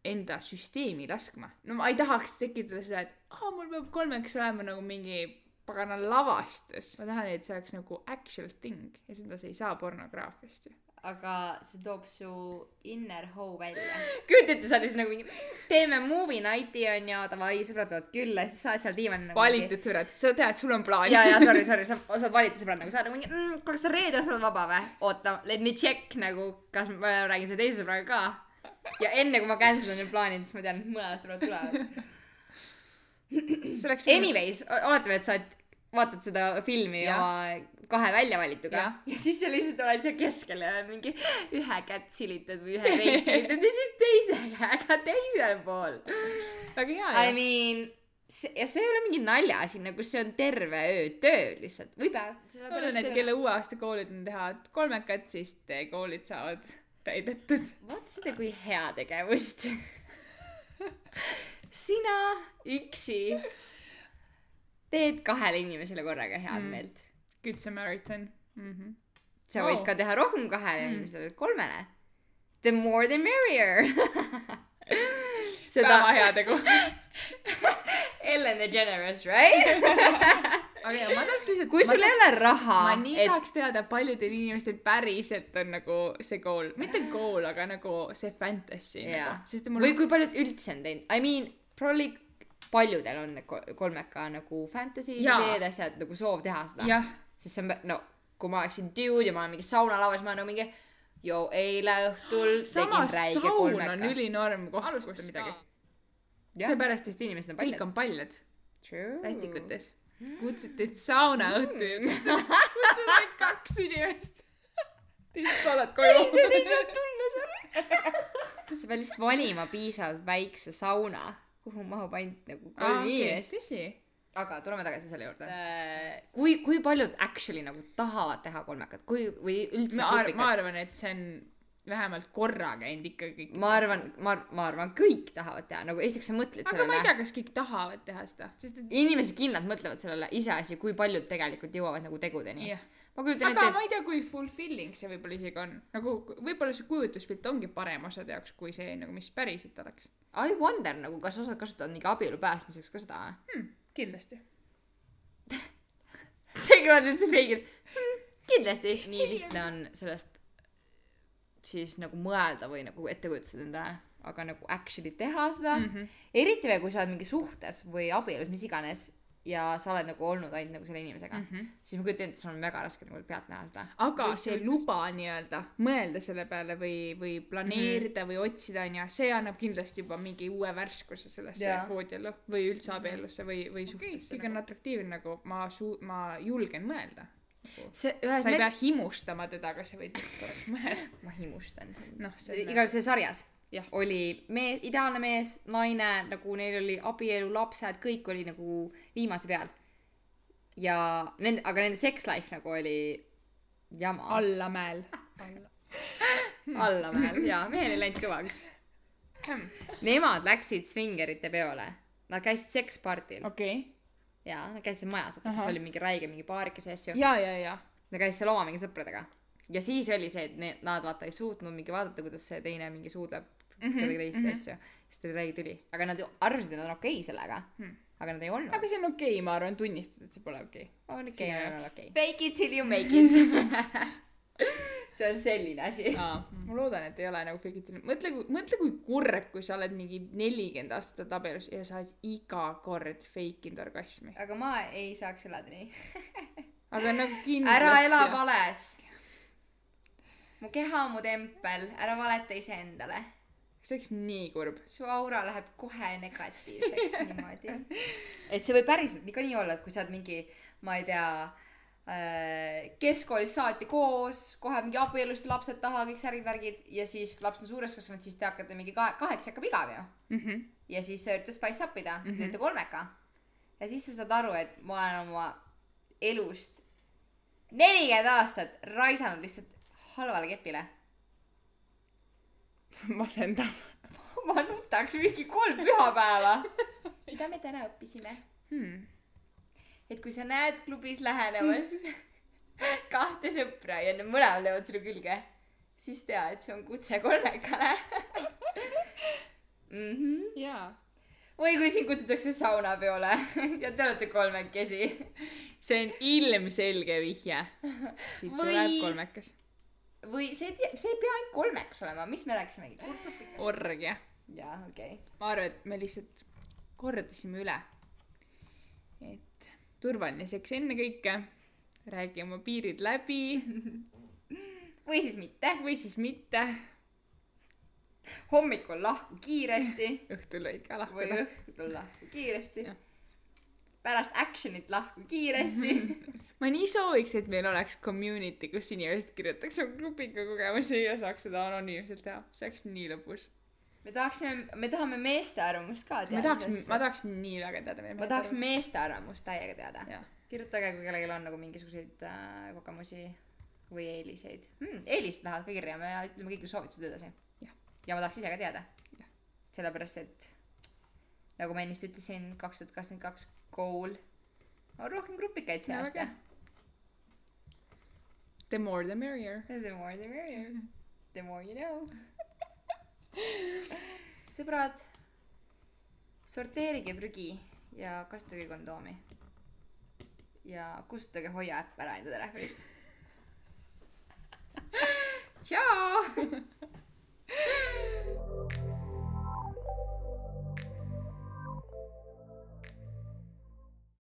[SPEAKER 1] enda süsteemi laskma ? no ma ei tahaks tekitada seda , et aa , mul peab kolmeks olema nagu mingi pagana lavastus . ma tahan , et see oleks nagu actual thing ja seda sa ei saa pornograafiast ju .
[SPEAKER 2] aga see toob su inner hoe välja . kujuta ette , sa oled siis nagu mingi , teeme movie night'i onju , davai , sõbrad tulevad külla , siis sa oled seal diivanil nagu .
[SPEAKER 1] valitud sõbrad , sa tead , sul on plaan .
[SPEAKER 2] ja , ja sorry , sorry , sa sa oled valitud sõbrad nagu , sa oled nagu mingi mm, , kuule , kas sa reede oled vaba või ? oota , let me check nagu , kas ma räägin selle teise sõbraga ka . ja enne kui ma cancel on ju plaanid , siis ma tean , et mõlemad sõbrad tulevad .
[SPEAKER 1] see oleks .
[SPEAKER 2] Anyways , oletame , et sa oled vaatad seda filmi ja.
[SPEAKER 1] Jah.
[SPEAKER 2] oma kahe väljavalituga ja.
[SPEAKER 1] Jah.
[SPEAKER 2] ja siis sa lihtsalt oled seal keskel ja oled mingi ühe kätt silitad või ühe veit silitad ja siis teise käega teisel pool .
[SPEAKER 1] nagu väga hea
[SPEAKER 2] I
[SPEAKER 1] ju .
[SPEAKER 2] mean , see ja see ei ole mingi naljaasi nagu see on terve öö tööd lihtsalt või päev
[SPEAKER 1] mul on need ,
[SPEAKER 2] sellepärast et
[SPEAKER 1] kelle uue aasta koolid on teha , et kolmekad , siis teie koolid saavad täidetud .
[SPEAKER 2] vaata seda kui heategevust sina üksi teed kahele inimesele korraga head
[SPEAKER 1] Mm.
[SPEAKER 2] meelt mm.
[SPEAKER 1] Good Samaritan mm . -hmm.
[SPEAKER 2] sa võid
[SPEAKER 1] Wow.
[SPEAKER 2] ka teha rohkem kahele
[SPEAKER 1] Mm.
[SPEAKER 2] inimesele kolmele the more the merrier
[SPEAKER 1] väga
[SPEAKER 2] seda
[SPEAKER 1] hea tegu .
[SPEAKER 2] Ellen the Generous right
[SPEAKER 1] aga jaa , ma tahaks lihtsalt .
[SPEAKER 2] kui sul ei ole raha
[SPEAKER 1] ma nii
[SPEAKER 2] et
[SPEAKER 1] tahaks teada , paljudel inimestel päriselt on nagu see kool , mitte kool , aga nagu see fantasy
[SPEAKER 2] Jaa.
[SPEAKER 1] nagu , sest mul
[SPEAKER 2] või kui paljud üldse on teinud , I mean , probably paljudel on need ko- kolmeka nagu fantasy
[SPEAKER 1] Jaa.
[SPEAKER 2] ideed , asjad nagu soov teha seda ,
[SPEAKER 1] jah ,
[SPEAKER 2] sest see on , no kui ma oleksin dude ja ma olen mingi saunalauas , ma olen nagu mingi , joo eile õhtul
[SPEAKER 1] samas
[SPEAKER 2] tegin räige
[SPEAKER 1] saun on
[SPEAKER 2] kolmeka .
[SPEAKER 1] ülinorm koht , kus
[SPEAKER 3] Alustas
[SPEAKER 1] midagi
[SPEAKER 3] ka. .
[SPEAKER 2] Jah.
[SPEAKER 1] seepärast , et
[SPEAKER 2] inimesed on
[SPEAKER 1] kõik
[SPEAKER 2] paljud .
[SPEAKER 1] on paljad
[SPEAKER 2] Mm. True .
[SPEAKER 1] rätikutes .
[SPEAKER 2] Mm.
[SPEAKER 1] kutsuti teid sauna õhtu ja kutsuti kutsuti ainult kaks inimest . teised saadad koju .
[SPEAKER 2] sa pead lihtsalt valima piisavalt väikse sauna , kuhu mahub ainult nagu kolm inimest . Äh,
[SPEAKER 1] tõsi ?
[SPEAKER 2] aga tuleme tagasi selle juurde . kui , kui paljud actually nagu tahavad teha kolmekat , kui , või üldse
[SPEAKER 1] ma arvan ,
[SPEAKER 2] grupikat?
[SPEAKER 1] ma arvan , et see on vähemalt korra käinud ikkagi .
[SPEAKER 2] ma arvan , ma , ma arvan , kõik tahavad teha , nagu esiteks sa mõtled
[SPEAKER 1] aga ma ei
[SPEAKER 2] sellele .
[SPEAKER 1] tea , kas kõik tahavad teha seda , sest et
[SPEAKER 2] inimesed kindlalt mõtlevad sellele iseasi , kui paljud tegelikult jõuavad nagu tegudeni .
[SPEAKER 1] jah .
[SPEAKER 2] ma kujutan
[SPEAKER 1] aga
[SPEAKER 2] ette ,
[SPEAKER 1] ma ei tea , kui fulfilling see võib-olla isegi on , nagu võib-olla see kujutluspilt ongi parem osade jaoks , kui see nagu , mis päriselt oleks .
[SPEAKER 2] et I wonder nagu , kas osad kasutavad mingi abielu päästmiseks ka seda või ?
[SPEAKER 1] Hmm, kindlasti .
[SPEAKER 2] see kõlab üldse feigil hmm, . kindlasti . nii lihtne on sellest siis nagu mõelda või nagu ette kujutada endale , aga nagu actually teha seda mm . -hmm. eriti veel , kui sa oled mingi suhtes või abielus , mis iganes ja sa oled nagu olnud ainult nagu selle inimesega mm , -hmm. siis ma kujutan ette , sul on väga raske nagu pealtnäha seda .
[SPEAKER 1] aga see luba nii-öelda mõelda selle peale või , või planeerida mm -hmm. või otsida onju , see annab kindlasti juba mingi uue värskuse sellesse
[SPEAKER 2] Jaa.
[SPEAKER 1] koodielu või üldse abielusse või , või suhtesse . kõik Mhm. on atraktiivne nagu ma suu- , ma julgen mõelda .
[SPEAKER 2] see
[SPEAKER 1] sa
[SPEAKER 2] ühes
[SPEAKER 1] ei
[SPEAKER 2] met-
[SPEAKER 1] pea himustama teda , aga sa võid korraks mõelda .
[SPEAKER 2] ma himustan sind
[SPEAKER 1] Noh,
[SPEAKER 2] noh
[SPEAKER 1] see on-
[SPEAKER 2] igal see sarjas
[SPEAKER 1] Jah.
[SPEAKER 2] oli mees ideaalne mees naine nagu neil oli abielu lapsed kõik oli nagu viimase peal ja nende aga nende sex life nagu oli jama Hmm.
[SPEAKER 1] allamäel .
[SPEAKER 2] allamäel jaa mehel ei läinud kõvaks
[SPEAKER 1] Hmm.
[SPEAKER 2] nemad läksid svingerite peole nad käisid sekspardil
[SPEAKER 1] okei .
[SPEAKER 2] jaa nad käisid majas
[SPEAKER 1] Ahah.
[SPEAKER 2] kus oli mingi räige mingi baarikese asju
[SPEAKER 1] ja , ja , ja .
[SPEAKER 2] ta käis seal oma mingi sõpradega ja siis oli see , et need , nad vaata ei suutnud mingi vaadata , kuidas see teine mingi suudleb kuidagi teist mm -hmm. asju . siis tuli räige tüli , aga nad ju arvasid , et nad on okei sellega
[SPEAKER 1] Hmm.
[SPEAKER 2] hmm. . aga nad ei olnud .
[SPEAKER 1] aga see on okei okay, , ma arvan , tunnistada , et see pole okei okay. .
[SPEAKER 2] on
[SPEAKER 1] sinu
[SPEAKER 2] okei , on
[SPEAKER 1] jaoks.
[SPEAKER 2] okei . Fake it till you make it . see on selline asi .
[SPEAKER 1] aa , mm. ma loodan , et ei ole nagu fake it , mõtle , mõtle , kui kurb , kui sa oled mingi nelikümmend aastat oled abielus ja sa oled iga kord fake inud orgasmi .
[SPEAKER 2] aga ma ei saaks elada nii .
[SPEAKER 1] aga nagu kindlasti .
[SPEAKER 2] ära ela vales . mu keha on mu tempel , ära valeta iseendale .
[SPEAKER 1] see oleks nii kurb .
[SPEAKER 2] su aura läheb kohe negatiivseks niimoodi . et see võib päriselt ka nii olla , et kui sa oled mingi , ma ei tea , keskkoolist saati koos , kohe mingi abielust lapsed taha , kõik särgivärgid ja siis , kui laps on suureks kasvanud , siis te hakkate mingi kahe , kaheksa hakkab igav ju .
[SPEAKER 1] Mhm.
[SPEAKER 2] ja siis sa üritad spice up ida , te teete kolmeka . ja siis sa saad aru , et ma olen oma elust nelikümmend aastat raisanud lihtsalt halvale kepile .
[SPEAKER 1] masendav .
[SPEAKER 2] ma nutaks mingi kolm pühapäeva . mida me täna õppisime ?
[SPEAKER 1] Hmm.
[SPEAKER 2] et kui sa näed klubis lähenemas kahte sõpra ja need mõlemad löövad sulle külge , siis tea , et see on kutse kolmekale mm . -hmm.
[SPEAKER 1] jaa .
[SPEAKER 2] või kui sind kutsutakse saunapeole ja te olete kolmekesi .
[SPEAKER 1] see on ilmselge vihje . siit
[SPEAKER 2] Või-
[SPEAKER 1] tuleb kolmekas .
[SPEAKER 2] või see ei tea , see ei pea ainult kolmeks olema , mis me rääkisimegi ?
[SPEAKER 1] orgia .
[SPEAKER 2] jaa , okei okay. .
[SPEAKER 1] ma arvan , et me lihtsalt kordasime üle . et turvaline seks ennekõike , räägi oma piirid läbi
[SPEAKER 2] või siis mitte ,
[SPEAKER 1] või siis mitte ,
[SPEAKER 2] hommikul lahku kiiresti
[SPEAKER 1] õhtul võid ka
[SPEAKER 2] või
[SPEAKER 1] lahkuda .
[SPEAKER 2] õhtul lahku kiiresti
[SPEAKER 1] Jah. .
[SPEAKER 2] pärast action'it lahku kiiresti
[SPEAKER 1] ma nii sooviks , et meil oleks community , kus inimesed kirjutaks oma grupiga kogemusi ja saaks seda anonüümselt teha , see oleks nii lõbus .
[SPEAKER 2] me tahaksime , me tahame meeste arvamust ka teada .
[SPEAKER 1] ma tahaks , ma tahaks nii väga teada .
[SPEAKER 2] ma tahaks . meeste arvamust täiega teada .
[SPEAKER 1] jah ,
[SPEAKER 2] kirjutage , kui kellelgi on nagu mingisuguseid äh, kogemusi või eeliseid hmm, . eelised lähevad ka kirja , me ütleme kõik soovitused edasi
[SPEAKER 1] Jah. .
[SPEAKER 2] ja ma tahaks ise ka teada
[SPEAKER 1] Jah. .
[SPEAKER 2] sellepärast , et nagu ma ennist ütlesin , kaks tuhat kakskümmend kaks kool on rohkem grupikaid see
[SPEAKER 1] Väga
[SPEAKER 2] aasta
[SPEAKER 1] hea. . the more the merrier .
[SPEAKER 2] The more the merrier . The more you know . sõbrad , sorteerige prügi ja kasutage kondoomi . ja kustutage Hoia äpp ära enda telefonist . tšau .